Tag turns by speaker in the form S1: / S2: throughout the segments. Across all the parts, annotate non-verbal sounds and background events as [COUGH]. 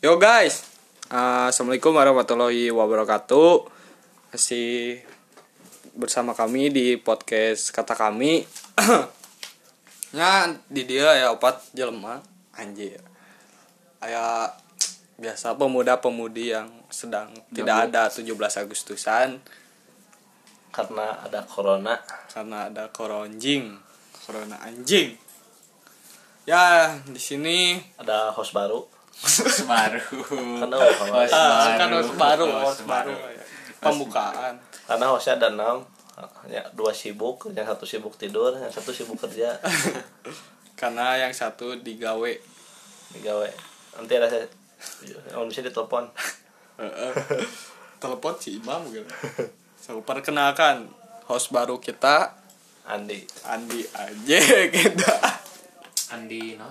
S1: Yo guys, Ah, assalamualaikum warahmatullahi wabarakatuh. Masih bersama kami di podcast kata kami. [CLEARS THROAT] Nya di dia ya opat jelema anjir. Aya biasa pemuda-pemudi yang sedang tidak ada 17 Agustusan
S2: karena ada corona
S1: karena ada koronjing, corona anjing. Ya, di sini
S2: ada host baru
S3: baru
S2: karena host,
S1: ah, kan
S3: baru.
S1: harus baru,
S3: Host
S1: harus baru. ya. Pembukaan.
S2: karena hostnya ada enam ya dua sibuk yang satu sibuk tidur yang satu sibuk kerja
S1: karena yang satu digawe
S2: gawe nanti ada saya kalau bisa ditelepon
S1: telepon si imam gitu so, perkenalkan host baru kita
S2: Andi
S1: Andi aja [LAUGHS] kita
S3: Andi no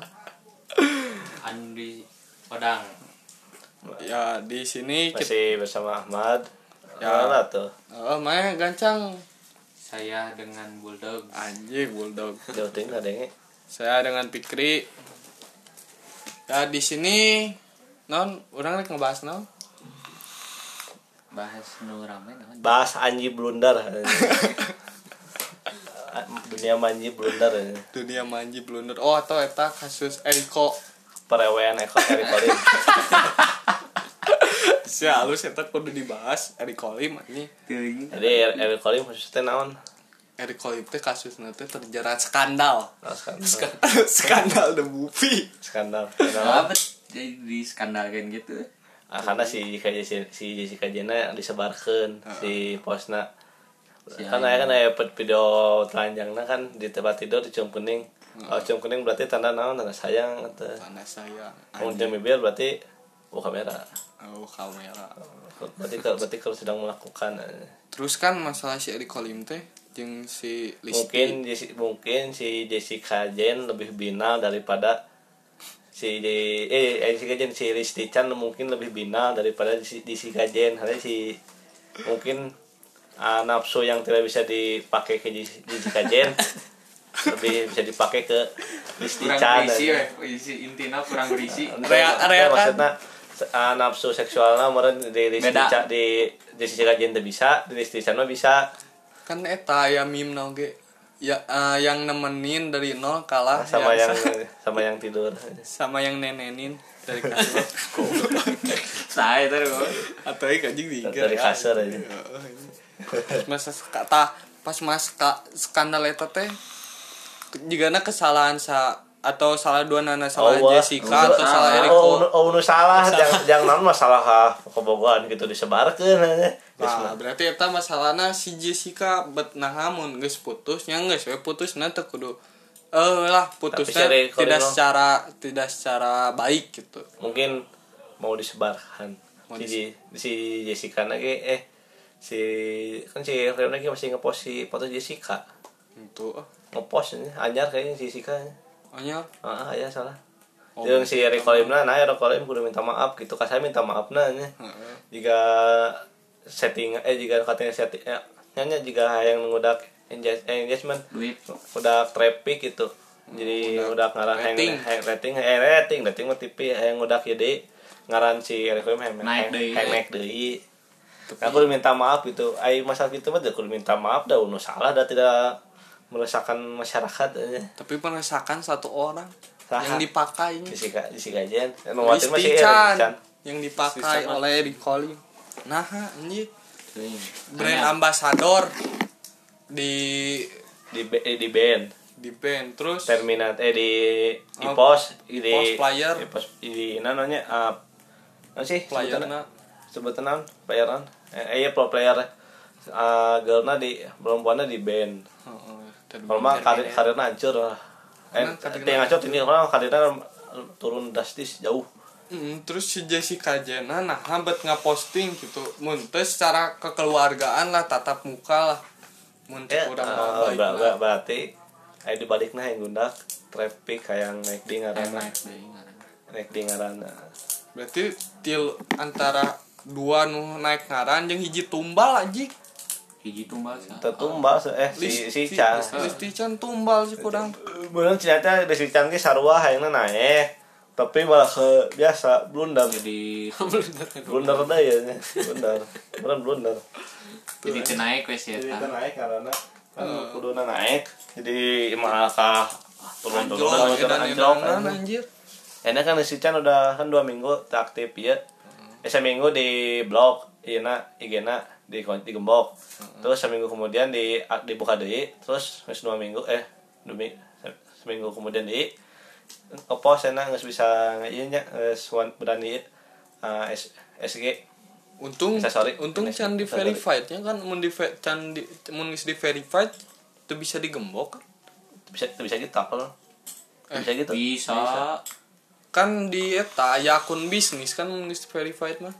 S3: Andi Padang
S1: ya di sini kita
S2: masih bersama Ahmad
S1: Ya.
S2: ya lah tuh
S1: oh main gancang
S3: saya dengan bulldog
S1: anjing bulldog
S2: jauh tinggi ada yang
S1: saya dengan Pikri ya di sini non orang rek ngebahas non
S3: bahas nu rame naon
S2: bahas Anji blunder [LAUGHS] dunia manji blunder ini.
S1: dunia manji blunder oh atau eta kasus Eriko
S2: perewean ekor dari Colin
S1: si halus eta kudu dibahas Eriko Lim ini
S2: jadi Eric Colin maksudnya naon
S1: Eriko Lim teh kasus nanti terjerat skandal
S2: Nah, skandal
S1: [LAUGHS] skandal the movie
S2: skandal Kenapa?
S3: apa jadi diskandalkan gitu
S2: Ah, karena si Jessica, Jesi- si Jessica Jena disebarkan di posna
S3: Si
S2: kan aya kan aya pet- video telanjangna kan di tempat tidur di cium kuning kalau cium kuning berarti tanda naon tanda sayang atau
S1: karena saya
S2: kalau cium bibir berarti oh kamera
S1: oh kamera
S2: berarti kalau berarti kalau sedang melakukan eh.
S1: terus kan masalah si Eri Kolim teh jeung si Listi
S2: mungkin Jesi- mungkin si Jessica Jen lebih binal daripada si eh eh, Jessica Jen si Risti Chan mungkin lebih binal daripada si Jessica Jen karena si mungkin ah, nafsu yang tidak bisa dipakai ke Jess- Jessica Jen lebih bisa dipakai ke Risti
S3: kurang
S2: Chan
S3: berisi
S2: aja.
S3: we isi intina kurang berisi
S2: Entah-
S1: Rea-
S2: entah
S3: kan?
S1: reakan.
S2: maksudnya se- ah, nafsu seksualnya meren di Risti
S3: Beda.
S2: Chan di Jessica Jen teu bisa di Risti Chan mah bisa
S1: kan eta ya meme nol ge ya eh, yang nemenin dari nol
S3: Ah,
S1: kalah
S2: sama
S3: iya,
S2: yang
S1: sa-
S2: sama yang tidur
S1: sama yang nenenin dari
S2: [LAUGHS]
S1: kasur
S3: saya terus
S1: atau yang kajing diiga
S2: dari kasur aja
S1: masa kata pas mas ka, skandal eta teh jika kesalahan sa atau salah dua nana salah
S2: wah.
S1: Jessica atau salah
S3: salah.
S2: Oh,
S1: Eriko
S2: nu- oh, nu salah, jangan jangan naon masalah ah, kebogohan gitu disebarkeun aja. Geus
S1: Nah, berarti eta masalahna si Jessica bet nahamun geus putus nya geus we putus nanti kudu eh lah putusnya
S2: Tapi si Ray
S1: tidak
S2: Colin mah-
S1: secara tidak secara baik gitu.
S2: mungkin mau disebarkan.
S1: Mau
S2: si, si Jessica lagi eh si kan si Rion lagi masih ngepost si foto Jessica.
S1: Itu ah,
S2: Ngepost ini anyar kayaknya si Jessica.
S1: anyar.
S2: Heeh, aya Ah, iya, salah.
S1: Oh,
S2: Jeung si Rekolimna nah Rekolim kudu minta maaf gitu. Ka saya minta maafna nya.
S1: Heeh.
S2: Jika setting eh jika katanya setting eh, nya jika yang ngudak engage- eh, engagement
S3: duit
S2: udah traffic gitu jadi udah ngarang
S1: rating.
S2: rating hang, rating hang rating rating mah tipi yang udah jadi ngaran si rekom hang hang
S3: Naik deui.
S2: hang naik deui aku minta maaf gitu ai masalah gitu mah aku minta maaf dah nu salah dah tidak meresahkan masyarakat eh.
S1: Tapi meresahkan satu orang
S2: Saha?
S1: yang dipakainya.
S2: disika disika jen nomor
S1: Listi
S2: masih masih
S1: Chan,
S2: Chan.
S1: yang dipakai oleh Ricoli. Nah, anjir.
S3: Anyar.
S1: Brand ambassador di
S2: di ba- eh, di band
S1: di band terus
S2: terminat eh di di
S1: Oh,
S2: pos di
S1: pos player.
S2: di pos di namanya uh, apa sih
S1: playerna
S2: sebutan player naon? eh iya pro player eh girlna di perempuannya di band
S1: Heeh. dan
S2: kalau mah karir karirnya hancur lah eh
S1: Nah, karirna
S2: yang hancur ini orang karirnya turun drastis jauh
S1: Mm, terus si Jessica Jena nah hambat ngaposting gitu muntes secara kekeluargaan lah tatap muka lah muntes
S2: eh
S1: kurang
S2: eh,
S1: baik lah.
S2: ber- ber- berarti eh dibaliknya yang gundak traffic kayak yang naik di ngarana naik di ngarana
S1: berarti til antara dua nu naik ngaran jeung hiji tumbal aja
S3: hiji tumbal sa
S2: tertumbal eh si si Chan
S1: Listican tumbal sih kurang
S2: belum ternyata dari si Chan ki sarua hayangna naik tapi malah ke biasa blunder
S3: [LAUGHS] jadi
S2: blunder deh ya nya. blunder beneran blunder
S3: jadi kenaik wes ya
S2: jadi
S3: tah.
S2: kan Hmm. naik karena kan kuduna naik jadi mahal kah turun turun
S1: Anjlok, edan,
S2: anjlok
S1: edanan,
S2: kan.
S1: anjir.
S2: Enak kan si Chan udah kan dua minggu tak aktif ya. Eh seminggu di blok, iya na, IG na di digembok. Terus seminggu kemudian di dibuka deh, terus wis dua minggu eh dua mi- se- seminggu kemudian di ngepost enak nggak bisa iya, ngainya nggak berani eh, S- SG
S1: untung
S2: Bisa, sorry.
S1: untung
S2: Bisa,
S1: can di
S2: sorry.
S1: verified nya kan mun di ve- can di mun geus di verified itu bisa digembok kan?
S2: bisa bisa gitu kalau bisa gitu
S3: bisa
S1: kan di eta aya akun bisnis kan mun geus di verified mah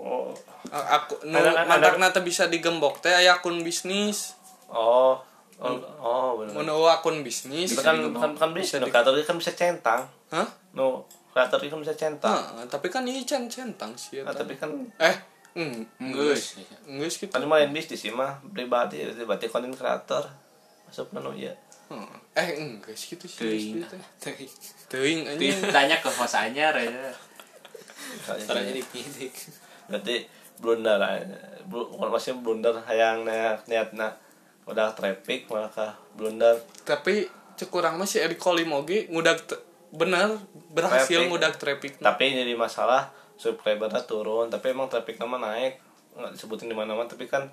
S2: oh
S1: A- aku nu
S2: Ada- ada-
S1: mantakna teh bisa digembok teh aya akun bisnis
S2: oh oh, oh benar
S1: mun eueuh akun bisnis
S2: kan kan kan bisa,
S1: Bisa di-
S2: kreator kan bisa centang
S1: hah
S2: no kreator kan bisa centang
S1: Nah, tapi kan ini can centang sih
S2: Ah,
S1: eta.
S2: tapi kan
S1: eh eng-
S3: Enggeus.
S1: enggeus enggeus gitu
S2: kan main bisnis sih mah pribadi berarti konten kreator masuk nanu ya
S1: Heeh. eh enggeus gitu sih
S3: Teuing.
S1: geus gitu. teuing
S3: Tuh,
S1: anjing
S3: tanya ke bos anyar ya
S2: Misalnya gini,
S3: dipidik
S2: berarti blunder lah Blu- maksudnya blunder hayang niat niatna udah traffic malah kah blunder
S1: tapi cekurang mah si Eri Kolim oge ngudag te- bener berhasil
S2: Traffic.
S1: ngudag traffic
S2: tapi jadi masalah subscribernya turun tapi emang traffic nama naik nggak disebutin di mana mana tapi kan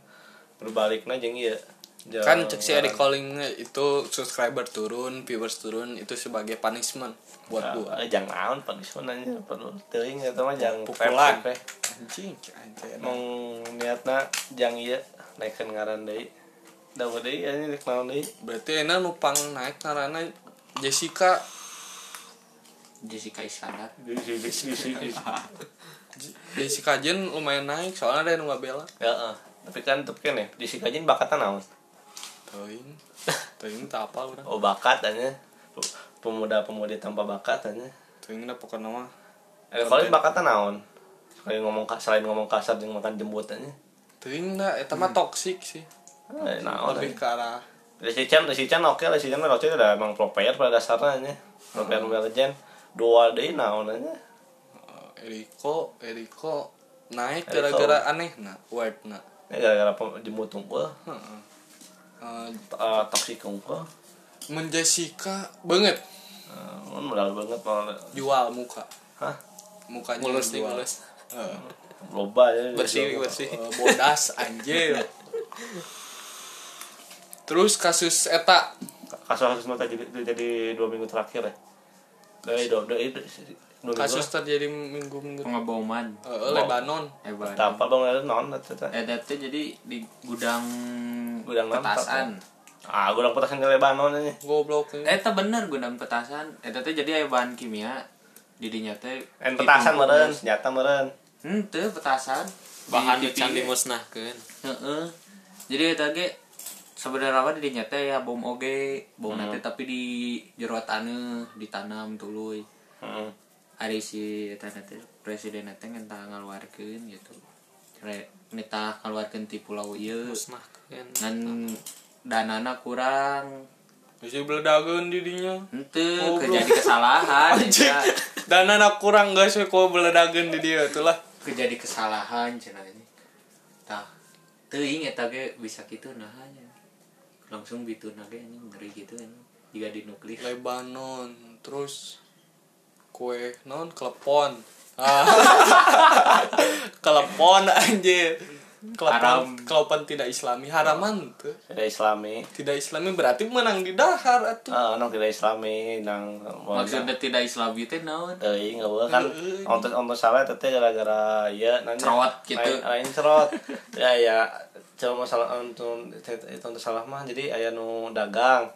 S2: berbaliknya jeung iya jeung-
S1: kan cek si Eri Kolim itu subscriber turun viewers turun itu sebagai punishment buat
S2: Ah,
S1: gua
S2: eh, jangan naon punishment aja perlu teuing eta mah jangan
S1: Pukulan.
S2: traffic, eh.
S1: anjing anjing
S2: emang niatna jang iya naikkan ngaran deui da deui ya ini naik naon deui
S1: berarti enak nupang naik karena Jessica
S3: Jessica Iskandar
S1: Jessica Jen lumayan naik soalnya ada yang nggak bela
S2: Heeh. tapi kan tapi kan ya di sikajeun bakatna naon
S1: Teuing [LAUGHS] Teuing tak apa udah
S2: oh bakat anya pemuda-pemudi tanpa bakat anya
S1: Teuing udah pokoknya mah
S2: eh kalau ini bakatna naon selain ngomong ka- selain ngomong kasar jeung makan jembut anya
S1: Teuing dah eta mah toksik sih
S2: Eh, naon
S1: lebih ke
S2: anya.
S1: arah
S2: Lesican, Lesican oke, Lesican mah kalau udah emang pro player pada dasarnya nya. Pro player Mobile Legend dua deui naon anya.
S1: Uh, Eriko Eriko naik
S2: Eriko.
S1: gara-gara aneh nah word nah
S2: Ini gara-gara pem- jembut unggul,
S1: Heeh. Uh,
S2: eh, toxic unggul.
S1: men Jessica banget
S2: Uh, modal banget malah
S1: jual muka
S2: hah
S1: mukanya
S4: Mulus nih,
S1: dijual.
S4: mulus.
S1: Heeh.
S2: loba ya
S4: bersih bersih
S1: Eh, bodas anjir terus kasus eta
S2: kasus kasus mata jadi jadi dua minggu terakhir ya dari dua dua itu dua minggu
S1: kasus terjadi minggu-minggu
S3: pengeboman
S1: Eh, eh, Lebanon
S3: hebat
S2: tanpa bang ada non tata
S3: eh dat teh jadi di gudang
S2: Gudang nampak,
S3: petasan
S2: ah gue udah petasan ke Lebanon aja
S1: goblok
S3: eh
S2: ya?
S3: teh bener gudang petasan eh teh jadi aya bahan kimia didinya teh gitu.
S2: dan petasan meren senjata meren
S3: hmm teh petasan
S4: bahan di
S1: Iya,
S3: Di- di-
S4: can dimusnahkan
S3: Heeh. Jadi eta ge sebenarnya mah di teh ya bom oge, bom nanti
S2: Hmm.
S3: tapi di jero taneuh ditanam tuluy.
S2: Heeh.
S3: Ari si eta na teh presiden teh ngentah ngaluarkeun gitu. Re nita ngaluarkeun ti pulau ieu
S4: musnahkan
S3: ngan danana kurang.
S1: bisa beledageun didinya
S3: Henteu
S1: Goblok.
S3: kejadi [LAUGHS] kesalahan ya.
S1: dan anak kurang guys we kok beledageun di dia itulah
S3: Kejadi kesalahan cenah ini. Tah. Teuing eta ge bisa kitu nah nya. Langsung bituna ge anjing ngeri gitu anjing. Jika di nuklir.
S1: Lebanon terus kue non klepon ah. [LAUGHS] klepon anjir
S3: Haram.
S1: klepon klepon tidak islami haraman tuh
S2: tidak islami
S1: tidak islami berarti menang di dahar atuh
S2: ah non tidak islami nang
S3: maksudnya tidak islami teh naon
S2: Eh, nggak boleh kan ontos ontos salah tete gara-gara ya nanya
S3: Cerot gitu.
S2: lain, lain cerot ya ya cuma masalah untuk itu untuk salah mah jadi ayah nu dagang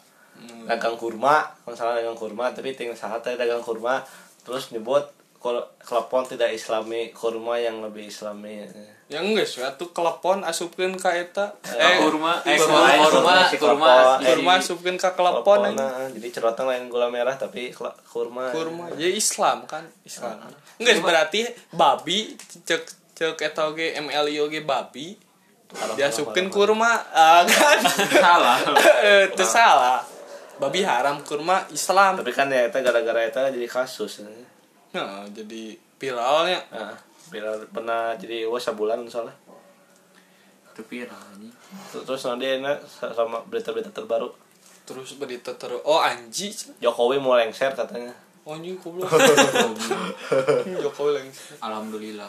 S2: dagang kurma kalau salah dagang kurma tapi ting salah teh dagang kurma terus nyebut kol- klepon tidak islami kurma yang lebih islami
S1: ya enggak sih atuh klepon asupkeun ka eta
S2: Eh,
S1: eh
S3: kurma eh
S1: kurma,
S3: kurma kurma
S2: kurma, Eh, iya.
S3: kurma
S2: kurma.
S1: kurma asupkeun ka klepon
S2: klepon
S1: anjir.
S2: nah, jadi cerotan lain gula merah tapi kela- kurma
S1: kurma ya Islam kan Islam
S2: Ah,
S1: enggak berarti babi cek cek eta oge MLI oge babi
S2: Haram,
S1: diasupkeun
S2: haram, Nah.
S1: kurma ah,
S2: [LAUGHS]
S1: kan
S3: salah
S1: Eh, itu salah babi haram kurma Islam
S2: tapi kan ya itu gara-gara itu jadi kasus
S1: nah jadi viralnya
S2: Nah, bila pernah jadi wah sebulan soalnya.
S3: tapi ya anjing
S2: Terus terus nanti enak sama berita-berita terbaru.
S1: terus berita terus oh anji
S2: Jokowi mau lengser katanya.
S1: oh anjing
S2: [LAUGHS]
S1: goblok Jokowi lengser
S3: alhamdulillah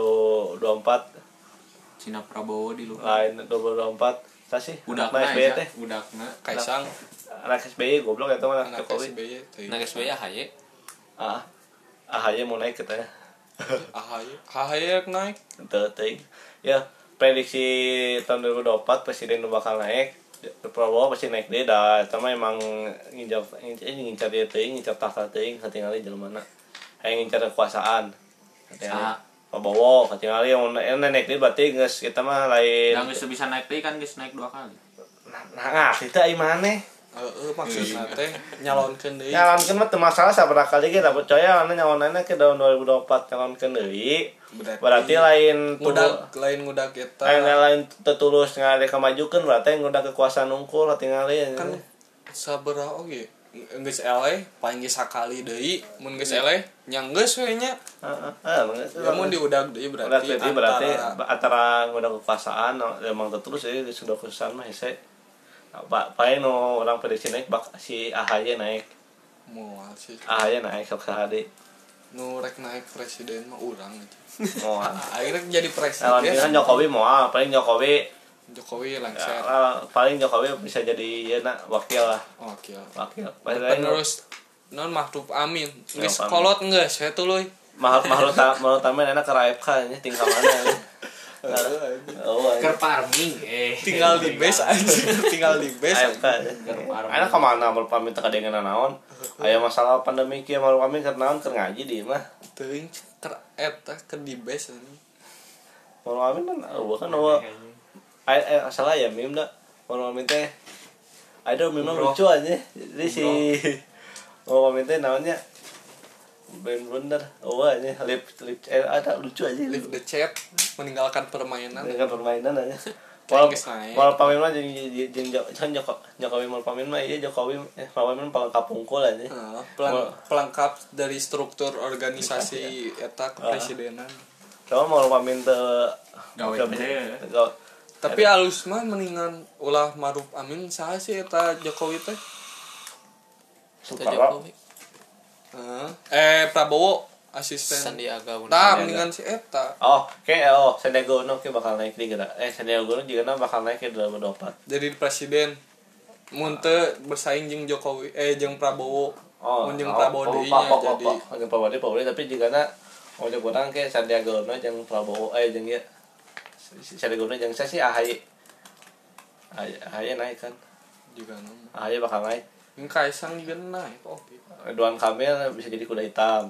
S2: 2024
S3: Cina Prabowo di luar
S2: lain 2024 Saya sih
S3: udah
S2: anak
S3: kena
S2: SBY
S3: ya
S2: teh
S3: udah kena
S1: kaisang
S2: anak SBY goblok ya teman
S1: anak
S2: Nah, Jokowi
S1: SBY teh.
S4: Nah, guys, ya haye.
S2: ah AHY mau naik katanya
S1: ahy ahy naik
S2: Teu teuing. ya prediksi tahun 2024 presiden nu bakal naik Prabowo pasti naik deh dah sama emang ngincar ngincar ngincar dia teuing ngincar tahta teuing ketinggalan jelema mana hayang ngincar kekuasaan
S3: Saha.
S2: ketinggalan Prabowo ketinggalan yang yang naik deh berarti geus kita mah lain
S3: dan nggak bisa naik deh kan guys naik dua kali
S2: nah, nah kita imane
S1: eh maksudnya teh nyalonkeun deui
S2: nyalonkeun mah teu masalah sabar kali ge dapat percaya anu nyalonanna ke tahun 2024 nyalonkeun deui
S1: Berarti-
S2: berarti lain tuh
S1: ngudak lain ngudak kita
S2: lain lain tetulus nggak ada kemajukan berarti yang udah kekuasaan unggul tinggal ya
S1: kan oh, sabaraha oge geus eleh paling geus sakali deui mun geus eleh nyang geus we nya ya mun diudag deui berarti
S2: berarti berarti- berarti
S1: antara-
S2: antara udah kekuasaan emang tetulus jadi sudah kekuasaan mah hese pak pakai no orang prediksi naik bak si AHY naik
S1: moal sih
S2: AHY naik sok sehari
S1: nu rek naik presiden mah urang aja
S2: mau
S1: akhirnya jadi
S2: kalau kan
S1: presiden
S2: Jokowi mau paling Jokowi
S1: Jokowi
S2: Ya,
S1: lengser
S2: lah, paling Jokowi bisa jadi ya nak wakil lah
S1: oke lah.
S2: wakil paling lain
S1: Oh, penerus non Mahruf Amin geus
S2: Amin.
S1: kolot geus saya tuluy
S2: mahal mahal ta mahal tamen enak ke RFK nya tinggal
S1: [LAUGHS]
S2: mana ya. oh
S3: ke farming eh
S1: tinggal di base aja [LAUGHS] tinggal di base
S2: RFK enak ke mana mahal pamit tak dengan naon aya masalah pandemi kieu mahal pamit keur naon keur ngaji di mah
S1: teuing ker eta ke di base anjing.
S2: mahal pamit kan eueuh kan eueuh aya aya salah ya mim da mahal pamit teh ada mim mah lucu aja jadi si [LAUGHS] mahal pamit teh naonnya ben bener oh aja lip lip eh ada lucu aja
S1: leave the chat meninggalkan permainan
S2: dengan permainan aja
S1: [LAUGHS] Kayak
S2: Wal,
S1: geus naik.
S2: wal pamin mah jadi jadi- jadi Joko- kan Joko, Jokowi mal pamin mah iya Jokowi eh pamin mah paling kapungkul aja.
S1: Nah, pelang- pelengkap dari struktur organisasi eta kepresidenan
S2: Coba mau pamin te
S3: Gawe
S2: gawe-
S3: teh, ya.
S2: gawe-
S1: tapi alus mah mendingan ulah Maruf Amin saha sih eta Jokowi teh
S4: Kita
S2: Soekarno.
S4: Jokowi.
S1: Heeh. eh Prabowo asisten
S4: Sandiaga Uno.
S1: nah mendingan si eta
S2: Oh, oke, oh, Sandiaga Uno oke bakal naik di gerak. Eh, Sandiaga Uno juga nah bakal naik ke dalam dompet.
S1: jadi presiden munte bersaing jeung Jokowi eh jeung Prabowo
S2: Oh,
S1: mun jeung
S2: oh, oh,
S1: Prabowo deui
S2: oh,
S1: nya
S2: oh, oh,
S1: jadi
S2: oh, jeung Prabowo deui, Prabowo deui, tapi juga na mau kurang ke Sandiaga Uno jeung Prabowo eh jeung ieu Sandiaga Uno jeung saya sih AHY. AHY AHY naik kan.
S1: juga nama
S2: AHY bakal naik.
S1: Kaisang juga naik oh
S2: Ridwan Kamil bisa jadi kuda hitam.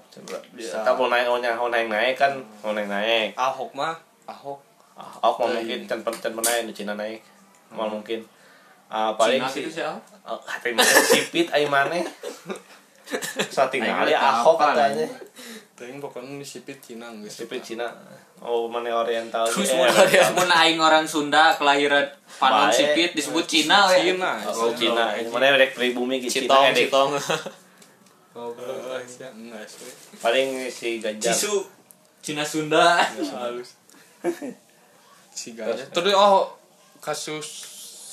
S2: Bisa. Tapi mau naik, mau naik, mau naik, naik kan, mau naik naik.
S1: Ahok mah Ahok
S2: Ahok mau
S1: Teuing.
S3: Iya,
S2: Ah, mungkin can pen can pernah di Cina naik, mau mungkin. Ah paling
S3: Hmm. Cina
S2: si,
S3: gitu sih ah.
S2: oh, hati mana sipit aing mane. Satingal
S3: Aing
S2: ya
S3: mah
S2: Ahok
S3: tapan.
S2: katanya.
S1: Teuing pokoknya disipit Cina geus
S2: Sipit Cina. Oh mana Oriental.
S1: Terus
S2: Eh,
S1: mana
S2: Oriental.
S3: mun aing orang Sunda kelahiran
S2: Bae.
S3: Panon Sipit disebut Cina we
S1: Cina.
S2: Oh Cina,
S4: Cina.
S2: mana rek pribumi ke Cina
S4: Citong,
S2: ya, dek.
S4: Citong.
S1: Oh, Enggak sih.
S2: Paling si Ganjar.
S3: Cisu Cina Sunda
S1: Halus. [LAUGHS] Si Ganya. Terus oh kasus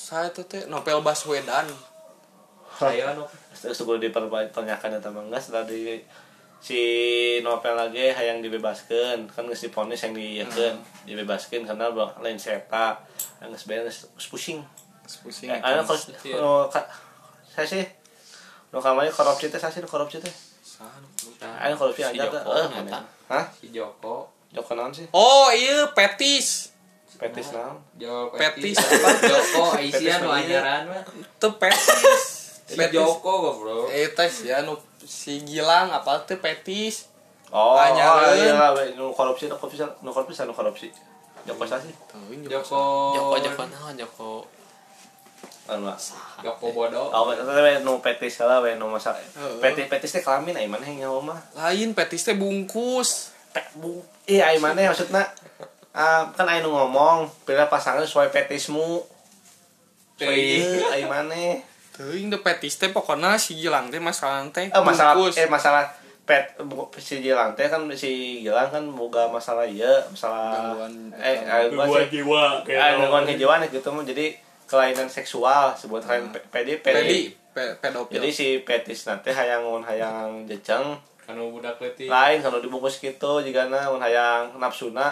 S1: saya tuh teh novel Baswedan.
S3: saya no
S2: terus gue dipertanyakan ya teman enggak setelah di si novel lagi yang dibebaskan kan nggak si ponis yang diiakan
S3: Hmm.
S2: dibebaskan karena bak- lain seta yang nggak sebenarnya pusing
S1: Pusing.
S2: Eh, ada kos
S4: iya.
S2: no, ka- saya sih no kamanya korupsi teh saya sih no korupsi teh ada korupsi
S4: Si
S2: aja
S4: Joko,
S2: teh eh
S4: ternyata.
S2: mana hah
S3: si Joko
S2: Joko naon sih
S1: Oh iya petis.
S2: petis naon
S3: Joko
S1: Petis
S3: apa Joko eh,
S2: Petis
S3: Aisyah nu
S2: mana?
S3: anyaran mah
S1: Itu petis.
S3: si
S1: Petis.
S3: Joko goblok
S1: Eh tes ya nu si Gilang apa tuh petis.
S2: oh
S1: Panyareun.
S2: oh, iya lah we. no korupsi no korupsi no korupsi no korupsi Joko saya sih
S1: Teuing juga.
S3: Joko
S4: Joko Joko naon Joko.
S2: anu lah
S3: Joko bodoh
S2: Oh, tapi nu petis lah, we nu masak.
S1: Heeh.
S2: Petis petis teh kelamin, ai mana yang nyawa mah?
S1: Lain petis teh bungkus.
S2: Pek bu. Eh, ai mana maksudna? Ah, kan ai nu ngomong, pilih pasangan sesuai petismu.
S3: Teuing.
S2: Sesuai ai mana?
S1: Teuing teh petis teh pokona si Gilang teh masalah teh.
S2: Eh, masalah
S1: bungkus.
S2: eh masalah pet bu- si Gilang teh kan si Gilang kan boga masalah iya masalah
S1: Gangguan-
S2: eh gangguan jiwa gangguan kejiwaan gitu mah jadi kelainan seksual sebut lain PD
S1: Pedi, pe- pedofil.
S2: jadi si petis nanti hayang hayang jejeng
S3: karena budak leti
S2: lain kalau dibungkus gitu jika na mun hayang nafsuna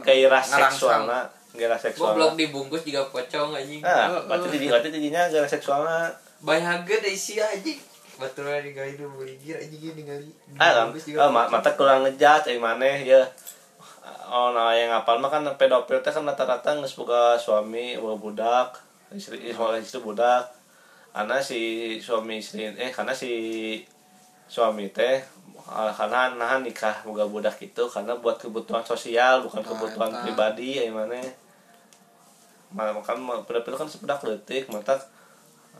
S2: gairah
S1: Ngerangsang.
S2: seksualna gairah seksualna
S3: goblok dibungkus juga pocong anjing
S2: nah berarti jadi berarti jadinya gairah seksualna
S3: bahagia deh si anjing Baturan di gali dulu ligir anjing ini gali
S2: ah kan ah, ma- mata kurang ngejat eh maneh ya oh nah yang ngapal mah kan pedofil teh kan rata-rata geus boga suami boga budak istri istri, istri budak karena si suami istri eh karena si suami teh ah, karena nahan nikah boga budak itu karena buat kebutuhan sosial bukan
S1: Nah,
S2: kebutuhan
S1: eta.
S2: pribadi eh maneh malah kan pedofil kan sepedak letik mata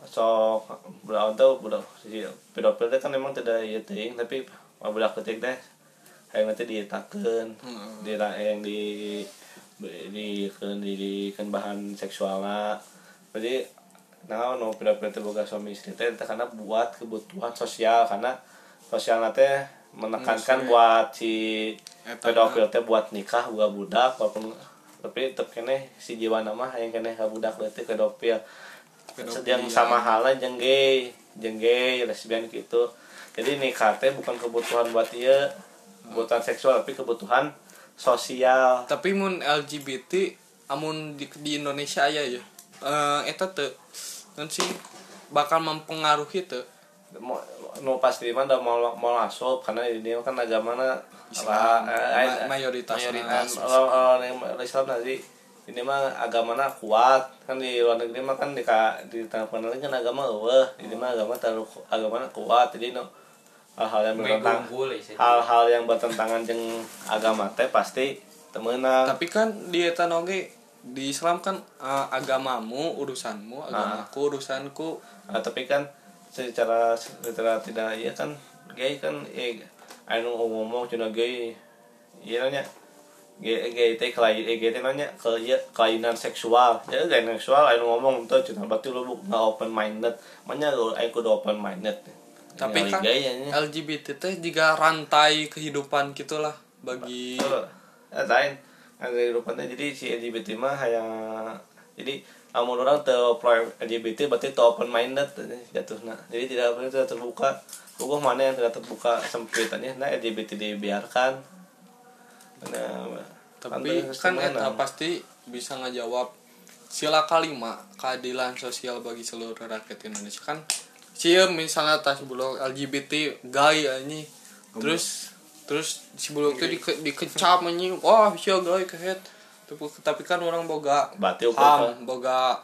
S2: sok budak tahu budak si pedofil teh kan memang tidak iya ting tapi budak ketik teh yang nanti dietakeun
S1: Heeh.
S2: di yang di di kan di, di kan bahan seksualna jadi nah no pedofil teh boga suami istri teh teh karena buat kebutuhan sosial karena sosialnya teh menekankan buat si
S1: Eta
S2: pedofil teh buat nikah buat budak walaupun tapi tetep kene si jiwa nama yang kene ka budak berarti pedofil
S1: Pedofilia.
S2: yang sama halnya jeung gay jeung gay lesbian gitu jadi nikah teh bukan kebutuhan buat dia kebutuhan seksual tapi kebutuhan sosial
S1: Tapi mun LGBT amun di, di Indonesia aya ya. Eh eta teu naon sih bakal mempengaruhi teu.
S2: Mo- nu pasti mah da mau mau asup karena di dia kan agamana
S1: Islam, ma-
S2: eh, eh,
S1: mayoritas.
S2: Nah, kalau kalau yang Islam tadi ini mah agamanya kuat kan di luar negeri mah kan di ka- di tanah negeri kan agama eueuh ini mah agama terlalu ku- agamana kuat jadi no, hal-hal yang bertentang
S3: boleh sih
S2: hal-hal yang bertentangan jeung agama teh pasti temenan
S1: Tapi kan di eta oge di Islam kan eh, agamamu urusanmu,
S2: Ah.
S1: agamaku urusanku.
S2: Nah, tapi kan secara secara tidak iya kan gay kan eh anu ngomong cina gay iya nanya gay gay teh kelain eh, gay teh nanya ke iya kelainan seksual jadi kelainan seksual anu ngomong tuh cina berarti lu bu- nggak open minded makanya lu aku udah open minded
S1: Tapi
S2: Ningali
S1: kan
S2: gay ya nya.
S1: LGBT teh juga rantai kehidupan gitulah bagi
S2: Betul. Eh, lain ada rupanya jadi si LGBT mah yang jadi namun orang te pro LGBT berarti te open minded jatuhnya jadi tidak apa tidak terbuka hukum mana yang tidak terbuka sempitannya nah LGBT dibiarkan nah,
S1: tapi
S2: terus
S1: kan
S2: gimana?
S1: eta pasti bisa ngejawab sila kalima keadilan sosial bagi seluruh rakyat Indonesia kan sih misalnya tas bulog LGBT gay ini terus terus si bulog itu dike, dikecam ini wah sih gay kehet tapi, tapi kan orang boga
S2: berarti hukum kan,
S1: ham boga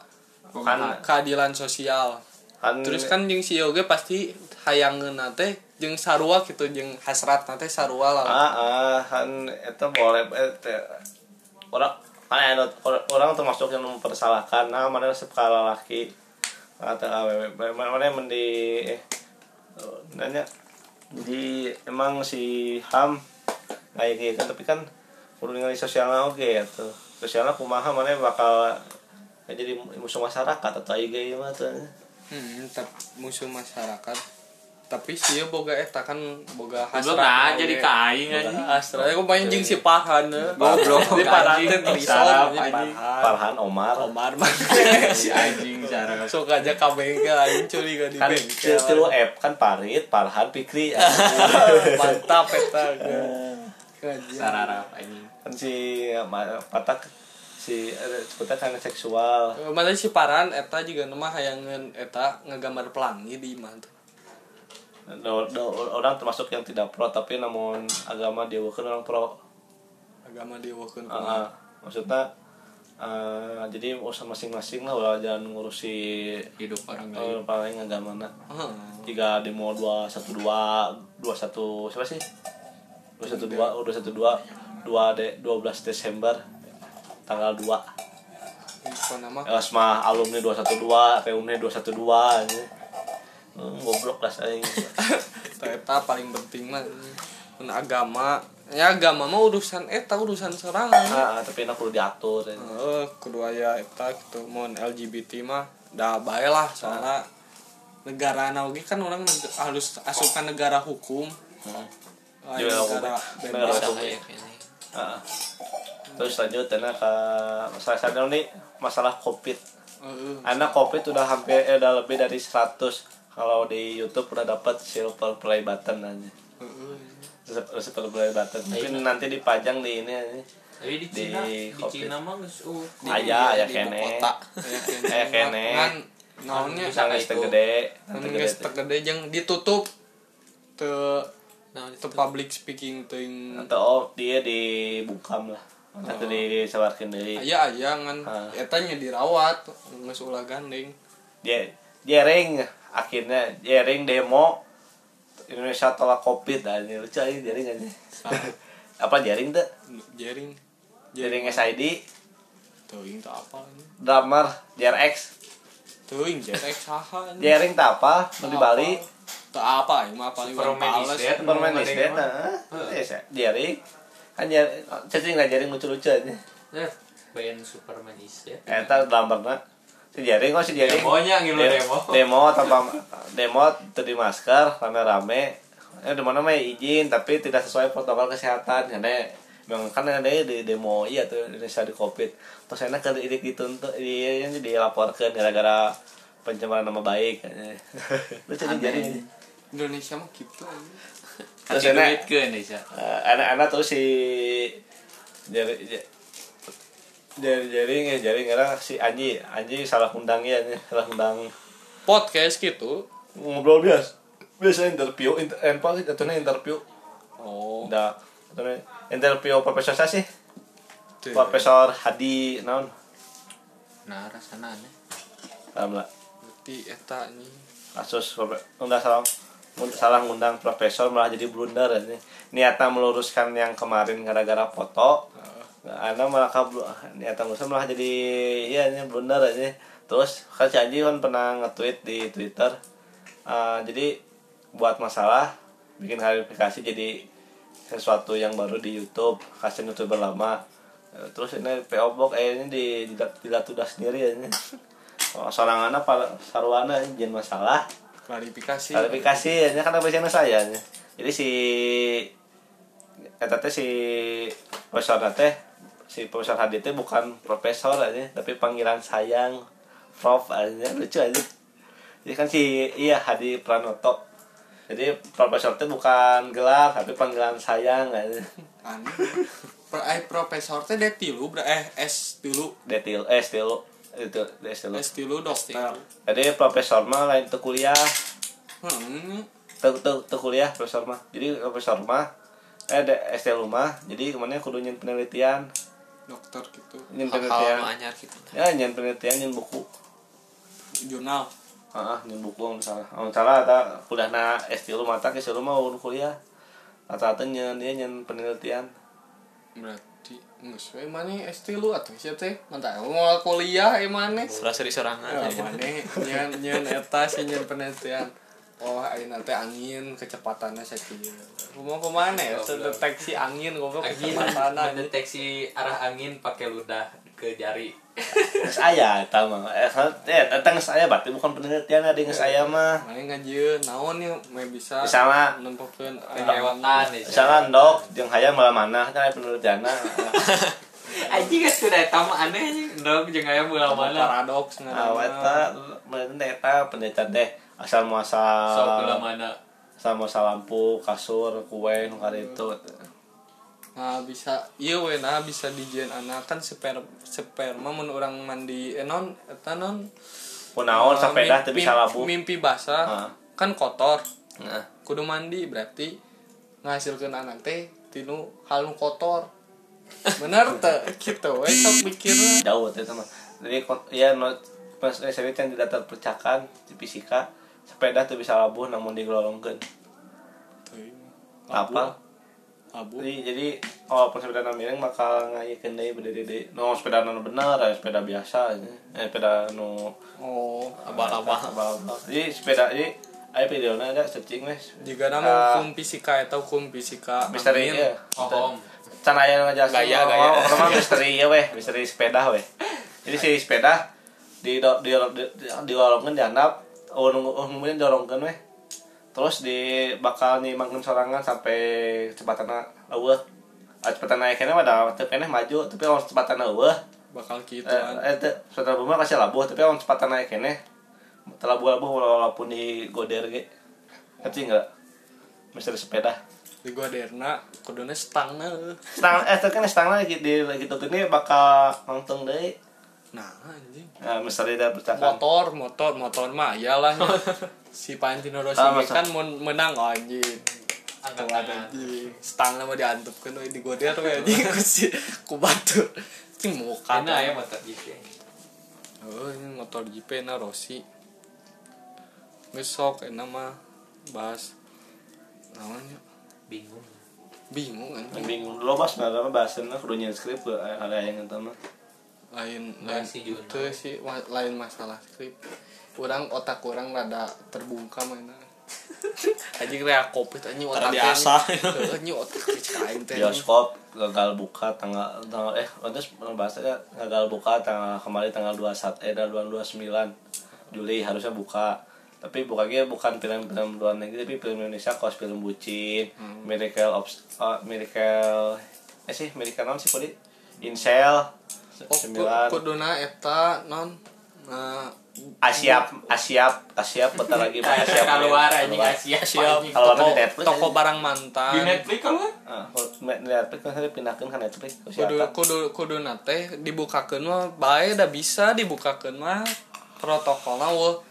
S2: kan,
S1: keadilan sosial terus kan jeung si oge pasti hayangeunna teh jeung sarua gitu jeung hasratna teh sarua lah
S2: ah ah kan itu boleh eh, te- orang kan ada or- orang termasuk yang mempersalahkan nah mana sekala laki Ah, atau awewe mana mana yang mendi eh, nanya jadi emang si ham kayak gitu kan tapi kan kudu ningali sosialnya oke atau sosialnya kumaha mana bakal eh, jadi musuh masyarakat atau IG mah tuh
S1: Hmm, tap- musuh masyarakat. Tapi sih boga eta kan boga
S4: Goblok
S1: hasrat.
S4: nah jadi kain anjing.
S1: Astra aku main jeung si Parhan ya.
S2: Oh,
S4: Goblok.
S1: Di Parhan
S4: anjing.
S1: teh Trison
S4: Sarap,
S1: anjing.
S4: anjing.
S1: Parhan.
S2: Farhan Omar
S1: Omar mah.
S4: Si anjing cara.
S1: Sok aja ka bengkel anjing curi ka di
S2: kan
S1: bengkel.
S2: tilu F kan Parit Farhan Pikri
S1: [LAUGHS] Mantap eta.
S4: Eh.
S1: Keren.
S4: Sararap anjing.
S2: kan si ma- eh, patak si eh, sebutnya kan seksual
S1: Eh, Mana si Parhan eta juga nama hayangan eta ngegambar pelangi di imah tuh.
S2: Do- do- orang termasuk yang tidak pro tapi namun agama dia bukan orang pro
S1: Agama dieuweun
S2: Ah, ah. maksudnya eh, jadi urusan masing-masing lah ulah jangan ngurusi
S3: hidup orang
S2: eh, paling agama nak
S4: Ah.
S1: Heeh.
S2: tiga demo dua satu dua dua satu siapa sih dua satu dua oh, dua satu dua dua de dua belas Desember tanggal dua
S1: Itu nama
S2: Elasma alumni 212, reuni 212 anjing. Hmm, goblok lah
S3: [LAUGHS]
S2: saya.
S1: eta paling penting mah mun agama ya agama mah urusan eta urusan serangan
S2: Ah, ah, tapi enak perlu diatur. ya. anjing.
S1: eh kedua ya eta gitu mun LGBT mah dah bae lah soalnya negara analogi kan orang neg- harus asupan negara hukum
S3: Hmm.
S1: Aing
S2: Jual
S1: gara
S2: obat.
S1: band
S2: Jual
S1: besar.
S2: obat. Heeh. Ah. terus lanjut karena ke masalah sekarang nih masalah covid
S1: Heeh.
S2: anak covid udah hampir eh, udah lebih dari 100 kalau di YouTube udah dapat silver play button aja
S3: Hmm.
S1: Heeh.
S2: Silver silver play button
S3: Iya.
S2: mungkin nanti dipajang di ini aja.
S3: Tapi di
S2: Di
S3: Cina, di,
S2: Covid.
S3: Cina mah geus uh,
S2: Aya, aya
S3: di
S2: kene.
S3: ibu kota.
S2: Aya kene.
S1: Ngan, Kan, naonnya
S3: Bisa
S2: Nangis
S3: itu.
S2: tegede,
S1: nangis
S2: tegede,
S1: tegede jeung ditutup te
S3: Nah,
S1: te public speaking ting
S2: atau oh, dia dibungkam lah atau disewarkan dari
S1: aya aya ngan
S2: Ah.
S1: eta nya kan. dirawat geus ulah gandeng
S2: dia jering akhirnya jering demo Indonesia tolak covid dan lucu aja jering aja [LAUGHS] apa jering tuh
S1: jering
S2: jering SID
S1: teuing teu apa ini
S2: drummer JRX
S1: teuing jerek saha ini?
S2: jering tak apa mau Kan di Bali
S1: teu apa ieu mah paling
S3: Superman is
S1: Pales.
S3: dead.
S2: Superman
S3: Hmm,
S2: is
S3: ada
S2: dead nah
S3: yang
S2: jering kan jering cacing lah jering lucu-lucu aja
S3: Eh, band Superman is dead.
S2: Eta drummerna nah. si jering kok si
S3: Ya,
S2: jering
S3: Demonya ngilu
S2: Dem-
S4: [LAUGHS]
S3: demo.
S2: demo tanpa demo tuh di masker rame-rame eh di mana mah izin tapi tidak sesuai protokol kesehatan karena memang kan ada di demo iya tuh Indonesia di covid terus enak kan ini dituntut di yang dilaporkan gara-gara pencemaran nama baik [LAUGHS] lu jadi jadi
S1: Indonesia mah gitu anjing.
S2: terus
S4: kasih duit
S2: enak
S4: ke Indonesia
S2: eh, anak-anak tuh si jari ja- jari jaring ya jaring karena si Anji Anji salah undang ya salah undang
S1: podcast gitu
S2: ngobrol biasa biasa interview inter eh, apa itu interview
S1: oh
S2: udah atuhnya interview profesor saya sih
S1: teu.
S2: profesor Hadi naon
S3: Nah, rasana aneh.
S2: paham lah
S1: Berarti eta ini
S2: kasus profe- udah salah mun- salah ngundang profesor malah jadi blunder ya. ini niatnya meluruskan yang kemarin gara-gara foto karena malah kablu niatnya meluruskan malah jadi iya ini blunder ini terus kan si Anji kan pernah nge-tweet di Twitter eh, jadi buat masalah bikin klarifikasi jadi sesuatu yang baru di YouTube kasih youtuber lama Eh, terus ini PO Box eh ini di dilat- dilatudah sendiri ya. ini Oh, sorangan apa sarwana jangan masalah
S1: klarifikasi
S2: klarifikasi ya kan apa sih saya nya. jadi si eta teh si profesor teh si profesor Hadi teh bukan profesor aja tapi panggilan sayang prof aja lucu aja jadi kan si iya Hadi Pranoto jadi profesor teh bukan gelar tapi panggilan sayang aja
S1: aneh Pro- eh, profesor teh dia tilu ber- eh S tilu
S2: detil eh stilo itu stilo
S1: S tilu dokter
S2: jadi profesor mah lain tuh kuliah
S1: hmm.
S2: tuh tuh tuh kuliah profesor mah jadi profesor mah eh ada STL mah jadi kemana kudu nyen penelitian
S1: dokter gitu
S2: nyen
S3: Hal-hal
S2: penelitian
S3: anyar gitu.
S2: ya nyen penelitian nyen buku
S1: jurnal
S2: ah ah, nyen buku nggak salah nggak salah ada kuliah na STL mata ke STL mah urun kuliah rata-rata nyen dia nyen penelitian
S1: berarti nggak sesuai mana S tilu atau siapa teh mantap mau kuliah emane
S4: surah seri sorangan
S1: emane nyen nyen eta si nyen penelitian oh ayeuna teh angin kecepatannya sakieu kumaha pemane ya deteksi angin goblok
S3: Oh, Angin
S1: kecepatanna
S3: mendeteksi arah angin pakai ludah ke jari.
S2: terus ayah tahu mah eh kan- eh datang saya berarti bukan penelitian ada yang saya mah
S1: mana ngajieun naon ya meh bisa
S2: misalnya
S1: nempokeun
S4: Ah.
S3: Ah, Kelewatan ya.
S2: misalnya dok yang hayang malam mana kan ada penelitian
S3: Aji geus teu da eta mah aneh anjing. Ndog jeung aya bola mana. Ah,
S1: paradoks
S2: awet melihatnya eta penelitian teh asal muasal
S3: Sok bola mana.
S2: sama salampu kasur kue nu
S1: Hmm.
S2: itu
S1: Nah, Ah, bisa iya we nah bisa dijieun anak kan sperma sperma mun orang mandi eh non eta non
S2: punaon
S1: eh,
S2: sepeda
S1: mim-
S2: tapi
S1: mim-
S2: salampu
S1: mimpi basah
S2: Ah.
S1: kan kotor
S2: nah
S1: kudu mandi berarti ngahasilkeun anak teh tinu hal nu kotor bener teh
S2: [LAUGHS]
S1: gitu we sok mikirna
S2: jauh teh sama jadi kon- ya no pas SMP yang tidak terpecahkan di fisika sepeda tuh bisa labuh namun digelolongkeun
S1: Teuing.
S2: apa
S1: abu
S2: jadi jadi kalau sepeda na miring maka ngayakeun deui berdiri deui no sepeda nu bener ada sepeda biasa aja. eh sepeda nu
S1: oh
S4: abal-abal
S2: abal-abal jadi sepeda jadi aya videona ada searching wes
S1: jika
S2: Ah.
S1: nama hukum fisika eta hukum fisika
S2: misteri
S1: angin.
S2: ya
S3: Om.
S2: can aya nu ngajelasin
S4: Gaya,
S2: orang-
S4: gaya.
S2: orang- orang mah Oh, misteri ya weh misteri sepeda weh jadi si sepeda di do- di di di- dilolongkeun dihandap oh nunggu oh nungguin dorongkeun weh terus di bakal nyimangkeun sorangan sampai kecepatan eueuh Ah, kecepatan naik kena ada tapi eneh maju tapi lawan kecepatan eueuh
S1: bakal gitu kan
S2: eh teu kecepatan beuh mah kasih labuh tapi lawan kecepatan naik kene telabuh-labuh walaupun di goder ge ngerti enggak misteri sepeda
S1: di gua derna kuduna stangna euy.
S2: stang eh teu kan stangna di di gitu gini bakal ngenteng deui
S1: nah anjing
S2: nah, misteri da percakan
S1: motor motor motor mah iyalah
S2: [LAUGHS]
S1: si Pantino Rossi
S2: Ah, masa-
S1: kan men- menang oh, anjing Tuh,
S3: Angkat tangan.
S1: anjing stang nama diantepkeun we di goder we anjing ku si ku batur cing mau
S3: Karena
S1: kana
S3: ya motor gitu.
S1: oh ini motor GP na Rossi besok enak mah bahas namanya
S3: Bingung.
S1: bingung anjing
S2: bingung dulu bos sebenarnya mah bahasannya kudu nyen skrip ke ada yang ngenteu mah
S1: lain lain
S3: Bahas si Juno.
S1: itu sih ma- lain masalah skrip orang otak orang rada terbungkam mana anjing rea covid anjing otak
S4: Terbiasa.
S1: anjing otak kain teh
S2: bioskop gagal buka tanggal tanggal eh terus bahasanya gagal buka tanggal kemarin tanggal 21 eh tanggal 29 Juli harusnya buka tapi bukanya bukan film-film luar negeri tapi film Indonesia kos film bucin
S1: Hmm.
S2: Miracle of eh, Miracle eh sih Miracle non sih kodi Insel
S1: Oh, ku-
S2: sembilan
S1: kuduna eta non eh,
S2: Asiap Asiap Asiap bentar lagi mah Asiap
S3: Keluar aja
S2: Keluar.
S3: ngasih
S1: siap
S3: asyik.
S2: Kalau
S1: toko,
S2: di Netflix
S1: toko
S2: aja.
S1: barang mantan
S4: Di Netflix eh? keluar.
S2: Ah, di Netflix kan saya pindahkan ke Netflix
S1: kudu
S2: ke siapa?
S1: kudu kuduna teh dibukakeun mah bae da bisa dibukakeun mah protokolna weh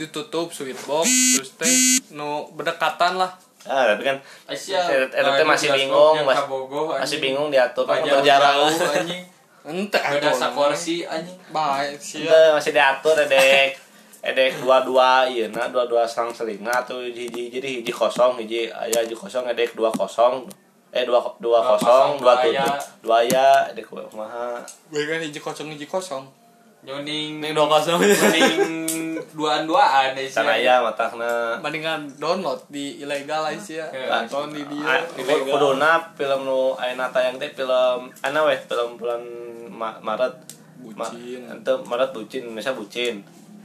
S1: ditutup switchbox terus teh nu berdekatan lah
S2: Ah, tapi kan
S4: Asia.
S2: Eh, eh, tapi masih bingung, Mas. masih bingung diatur kan berjarak
S4: anjing.
S1: ente
S4: Beda sakorsi anjing.
S1: bae sia
S2: Ente masih diatur edek edek dua dua iya nah dua dua selang seling nah tuh hiji jadi hiji kosong hiji aya hiji kosong edek dua kosong eh dua
S4: Dua
S2: dua kosong
S4: pasang,
S2: dua
S4: dua
S2: tujuh
S4: aya.
S2: dua ya edek kumaha
S1: bae kan hiji kosong hiji kosong
S4: Nyoning.
S1: Ning dua kosong.
S4: [LAUGHS] Nyoning duaan-duaan ya,
S2: sana
S4: Sia.
S2: ya matahna
S1: mendingan download di ilegal aja sia
S4: Ya.
S1: nonton di
S2: Ah,
S1: dia
S2: ku- kuduna film nu ayeuna tayang teh film ana weh film bulan Ma- Maret Ma-
S1: Bucin.
S2: ente Maret bucin Indonesia bucin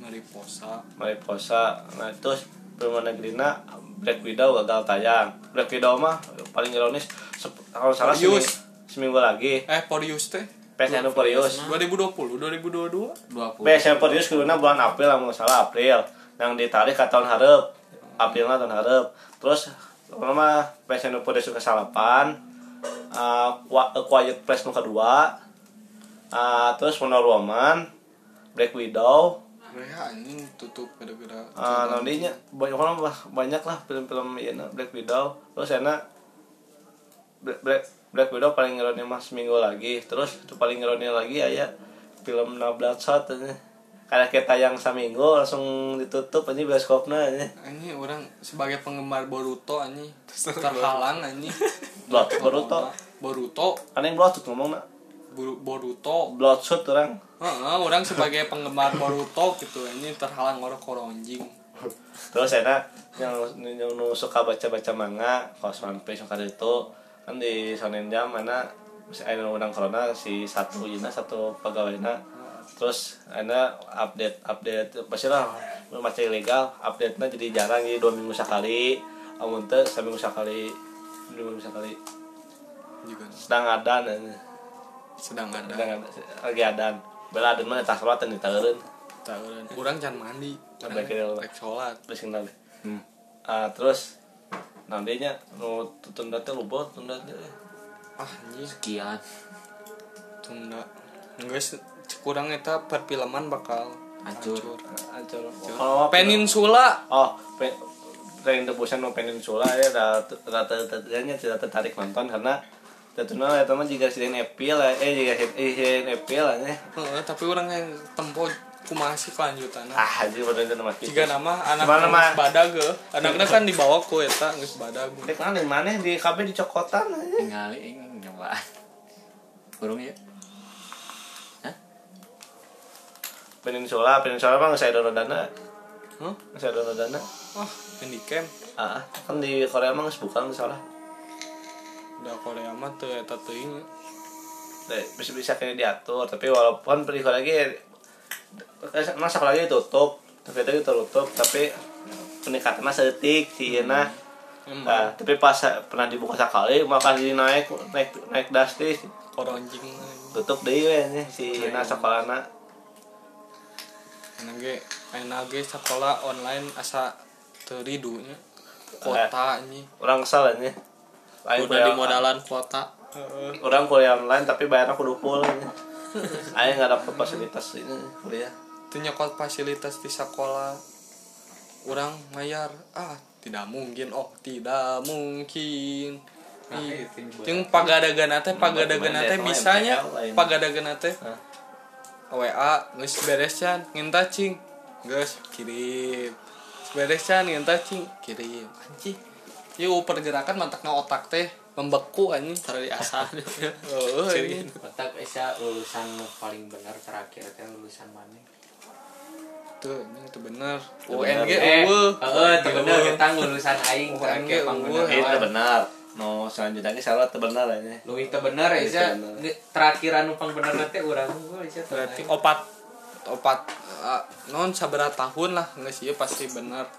S1: mariposa
S2: Mariposa nah terus film negerina Black Widow gagal tayang Black Widow mah paling ironis sep- kalau salah seminggu,
S1: Furious.
S2: seminggu lagi
S1: eh Porius teh
S2: PSN Furious
S1: 2020 2022
S3: Dua puluh.
S2: PSN Furious kuduna bulan April kalau nggak salah April yang ditarik ke tahun harap April tahun harap terus nama PSN Furious ke salapan uh, Wa- A Quiet Place nu kedua uh, terus Wonder Woman Black Widow
S1: Rea anjing tutup gara-gara
S2: Ah, nantinya banyak orang lah banyak lah film-film ya Black Widow terus enak Black, Black, Black Widow paling ngerone mah seminggu lagi terus itu paling ngerone lagi aya film na Bloodshot ini karena kita tayang seminggu langsung ditutup ini bioskopnya ini
S1: Ini orang sebagai penggemar Boruto anjing terhalang anjing
S2: Blood [LAUGHS] Boruto
S1: Boruto
S2: kan yang Bloodshot ngomong nak
S1: Bur- Boruto
S2: Bloodshot orang
S1: Heeh, orang sebagai penggemar Boruto gitu ini terhalang orang koronjing
S2: terus enak yang yang nu suka baca-baca manga kaos One Piece suka itu kan di Shonen Jump mana si ada undang corona si satu Yuna satu pegawainya terus ada update update pasti lah baca ilegal update nya jadi jarang jadi dua minggu sekali amun teu seminggu sekali dua minggu sekali
S1: juga
S2: sedang adan eh,
S1: sedang ada
S2: sedang ada lagi adan bela adan mana tas rotan di tagerin
S1: Tah, orang orang jangan mandi orang
S2: Baik, ya,
S1: rek sholat
S2: terus kenal deh Ah, terus nantinya nu tutun datang lupa tutun datang
S1: ah anjing
S3: Sekian.
S1: tunda guys kurang eta perfilman bakal
S3: Hancur.
S2: Ancol.
S1: Peninsula
S2: Oh, pe tren tebusan no peninsula ya rata-ratanya tidak tertarik nonton karena tentunya ya teman jika sidin epil ya, eh jika sidin epil ya.
S1: Heeh, tapi orang yang tempo kumasi kelanjutan
S2: Ah, jadi pada itu nama kita.
S1: jika nama anak
S2: Gimana, Ma?
S1: geus badag ge. anaknya kan dibawa ku eta geus badag
S2: Ini kan di mana di KB di Cokotan aja.
S3: Tinggal ini nyobaan. Kurung ya. Hah?
S2: Peninsula, peninsula mah saya dono dana,
S1: Hah?
S2: saya dono dana.
S1: ah handicap
S2: Ah, kan di Korea mah nggak bukan salah.
S1: udah Korea mah teu eta teuing
S5: Eh,
S2: Nah, bisa bisa kayaknya diatur tapi walaupun perikol lagi masa lagi tutup tapi tadi tertutup tapi
S5: peningkatannya setik si Ina
S1: emang
S5: nah, tapi pas sa- pernah dibuka sekali makan jadi naik naik naik drastis
S1: koronjing
S5: tutup deh we, nya, si Ina sekolahnya
S1: nage nage sekolah online asa teridunya kuota ini
S5: Eh, orang kesal nya Lain
S1: udah
S5: kuliah-
S1: dimodalan kuota
S5: orang kuliah online tapi bayarnya kudu full nya. Aing nggak dapet fasilitas ini kuliah
S1: itu nyokot fasilitas di sekolah orang mayar ah tidak mungkin oh tidak mungkin
S6: Nah, itu yang buat.
S1: yang pagadagana teh pagadagana teh
S5: Lain,
S1: bisanya
S5: MTL lain.
S1: pagadagana teh
S5: Hah.
S1: WA geus beres can ngenta cing geus kirim Geus beres can ngenta cing kirim anjing yuk pergerakan matakna otak teh membeku anjing dari [LAUGHS] asal oh, anjing.
S3: otak Esa lulusan nu paling bener terakhir teh lulusan mana
S1: tuh ini tuh bener
S5: bener.
S1: UNG
S3: eh
S1: eueuh.
S3: heeh teu bener gitu. kita lulusan
S1: Oh,
S3: aing
S1: anjing,
S3: terakhir pang
S1: eueuh.
S3: bener
S5: Eh, itu
S3: wae.
S5: benar no selanjutnya ini salah itu benar nya
S3: Luwih teu bener
S5: Luwih
S3: Esa
S5: teu bener.
S3: Nge- terakhiran nu pang bener teh urang gua Esa teu
S1: berarti
S3: naik.
S1: opat opat eh, non sabera tahun lah nggak sih iya pasti bener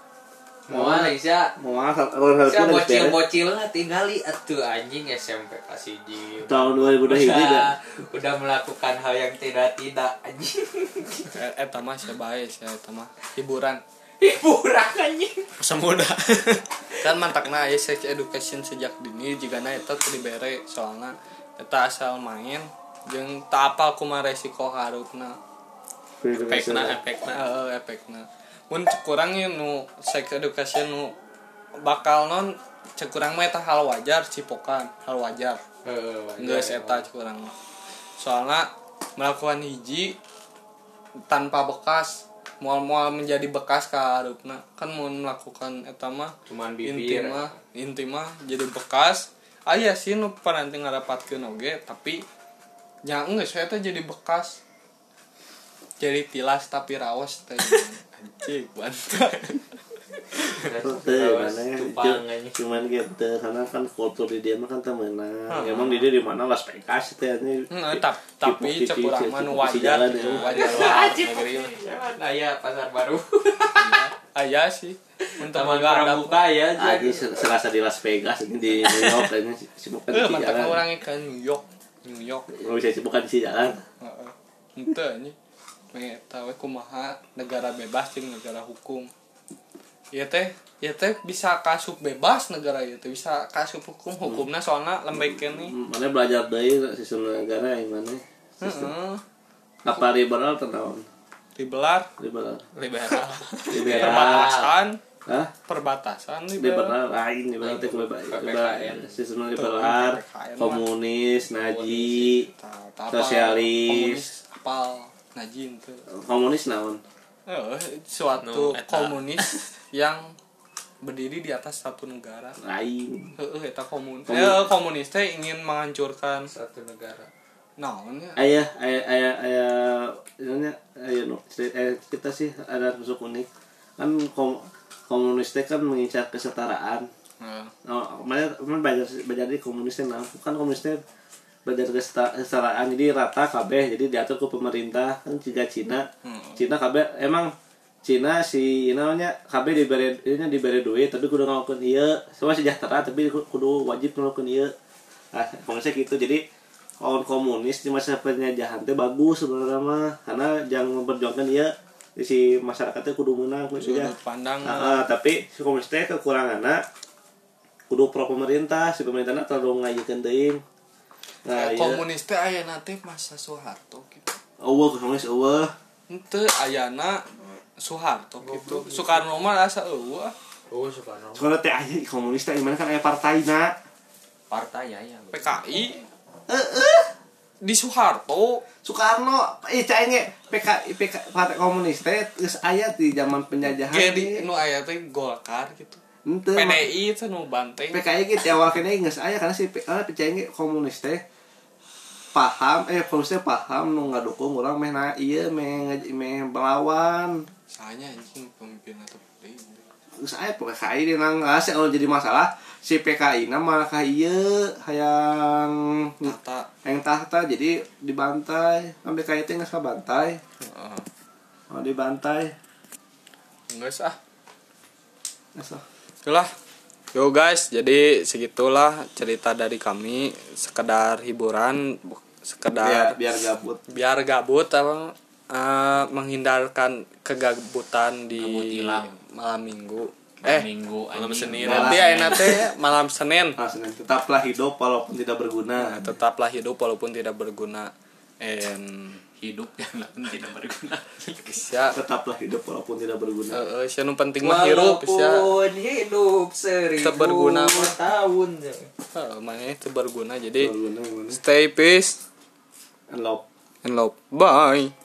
S3: moal Esa
S5: mau
S3: Esa bocil-bocil tinggali atuh anjing SMP pas hiji
S5: tahun 2000
S2: ya?
S3: udah, udah melakukan hal yang tidak-tidak anjing [LAUGHS]
S1: eh eta mah saya baik saya eta mah hiburan
S3: hiburan anjing
S1: semuda [LAUGHS] kan mantakna aya sex education sejak dini jika nah, na eta teu dibere soalnya eta asal main jeung tak apa aku mah resiko harutna
S2: efekna efekna
S1: eh efekna mun kurangnya nu sex education nu bakal non cekurang mah eta hal wajar cipokan hal wajar nggak seta kurang soalnya melakukan hiji tanpa bekas mual-mual menjadi bekas ka harupna kan mau melakukan eta mah
S3: cuman
S1: inti mah inti mah jadi bekas aya sih nu pananti ngarapatkeun oge tapi nya enggak saya teh jadi bekas jadi tilas tapi rawas teh anjing mantap
S3: Tupang anjing.
S2: ya? cuman gitu karena kan kultur di dia mah kan temenan emang di dia di mana Las Vegas itu ya ini
S1: Nah, tap- tapi
S2: Tipu-
S1: cekurang
S2: tipu-
S1: mah nu
S2: tipu-
S1: wajar
S2: tipu- jalan, ya.
S1: wajar lah
S3: Nah ya pasar [LAUGHS] baru.
S1: aya Ah, iya sih untuk
S3: Taman
S1: ada
S3: Pramuka ya.
S2: Ah, ini se- serasa di Las Vegas ini di New York [LAUGHS] ini sibukan
S1: Eh,
S2: di
S1: mantap
S2: jalan
S1: orangnya ke New York, New York.
S2: nggak bisa sibukan di jalan
S1: Heeh. Henteu anjing. Me tahu kumaha negara bebas jeung negara hukum. Ieu teh, ieu teh bisa kasup bebas negara ieu teh bisa kasup hukum, hukumna soalna lembek nih.
S2: mana belajar dari sistem negara yang mana sistem
S1: Heeh.
S2: apa liberal atau naon?
S1: Dibelar,
S2: liberal
S1: liberal.
S2: liberal
S1: Perbatasan,
S2: ah
S1: perbatasan liberal.
S2: Ya. liberal lain liberal teh kebeba-
S3: PPKN.
S2: kebeba- sistem liberal
S1: PPKN, mah.
S2: komunis naji
S1: Tah, tah apa,
S2: Sosialis.
S1: komunis, apal najin tuh.
S2: komunis naon
S1: suatu
S2: Nu, Anu, eta.
S1: komunis yang berdiri di atas satu negara.
S2: lain
S1: Heeh, eta komun.
S2: Komun-
S1: Eh, komunis teh ingin menghancurkan
S3: Satu negara.
S1: naonnya?
S2: ayah ayah ayah ayah ininya ayah no, ceri- eh, kita sih ada masuk unik kan kom, komunis teh kan mengincar kesetaraan
S1: Heeh.
S2: Oh, mana mana belajar belajar di komunisnya nah kan komunisnya belajar keseta- kesetaraan jadi rata kabeh jadi diatur ke pemerintah kan jika Cina Cina kabeh emang Cina si inanya kabeh diberi ini diberi duit tapi kudu ngelakuin iya semua sejahtera tapi ku- kudu wajib ngelakuin iya nah komunisnya gitu jadi kawan komunis di masa penjajahan teh bagus sebenarnya mah karena jangan memperjuangkan iya Jadi si masyarakatnya kudu menang kudu
S1: Sudut
S2: ya.
S1: pandang
S2: Ah, ah, tapi si komunis teh kekurangannya kudu pro pemerintah si pemerintahnya terlalu ngayukan deing nah
S1: eh,
S2: iya
S1: komunis teh ayeuna teh masa Soeharto gitu.
S2: awal komunis awal
S1: Henteu ayana Soeharto gitu. Soekarno mah asa eueuh. ah.
S3: Oh Soekarno.
S2: soalnya teh aja komunis teh gimana kan ayah partai na
S3: Partai ya ya.
S1: PKI
S2: eh eh
S1: di Soeharto
S2: Soekarno eh cainge PK PK partai komunis teh geus aya di zaman penjajahan
S1: jadi nu aya teh Golkar gitu.
S2: ente
S1: PDI teh nu banteng.
S2: PKI gitu awal kena geus aya karena si eh, karena PKI komunis teh paham eh komunis teh paham nu ngadukung urang meh na ieu meh ngaj- meh melawan
S1: Soalnya anjing pemimpin atau PDI.
S2: saya PKI di nanggas kalau jadi masalah si PKI nama malah kaya hayang
S1: Tata
S2: yang tahta jadi dibantai kan PKI itu nggak bantai
S1: heeh.
S2: mau Oh, dibantai
S1: ah. Enggak sah. Itulah. Yo guys, jadi segitulah cerita dari kami, sekedar hiburan, bu-
S2: biar
S1: sekedar biar,
S2: biar gabut
S1: gabut apa eh, menghindarkan kegabutan di
S3: Gabut hilang.
S1: malam minggu.
S3: eh,
S1: eh,
S3: minggu
S1: malam
S3: anjing.
S1: Senin.
S2: Malam
S1: Nanti
S2: Senin.
S1: ayeuna teh malam Senin.
S2: Nah, Senin, Ah, tetaplah hidup walaupun tidak berguna
S1: Nah, tetaplah hidup walaupun tidak berguna. And
S3: hidup [LAUGHS] yang lain tidak berguna
S1: sia
S2: tetaplah hidup walaupun tidak berguna
S1: heeh, sia Eh, nu penting mah hirup sia.
S7: hidup seribu
S1: Tetap berguna, mah.
S7: tahun
S1: Heeh, Eh, mana itu berguna. Jadi
S2: berguna gimana
S1: stay peace
S2: and love
S1: and love. Bye.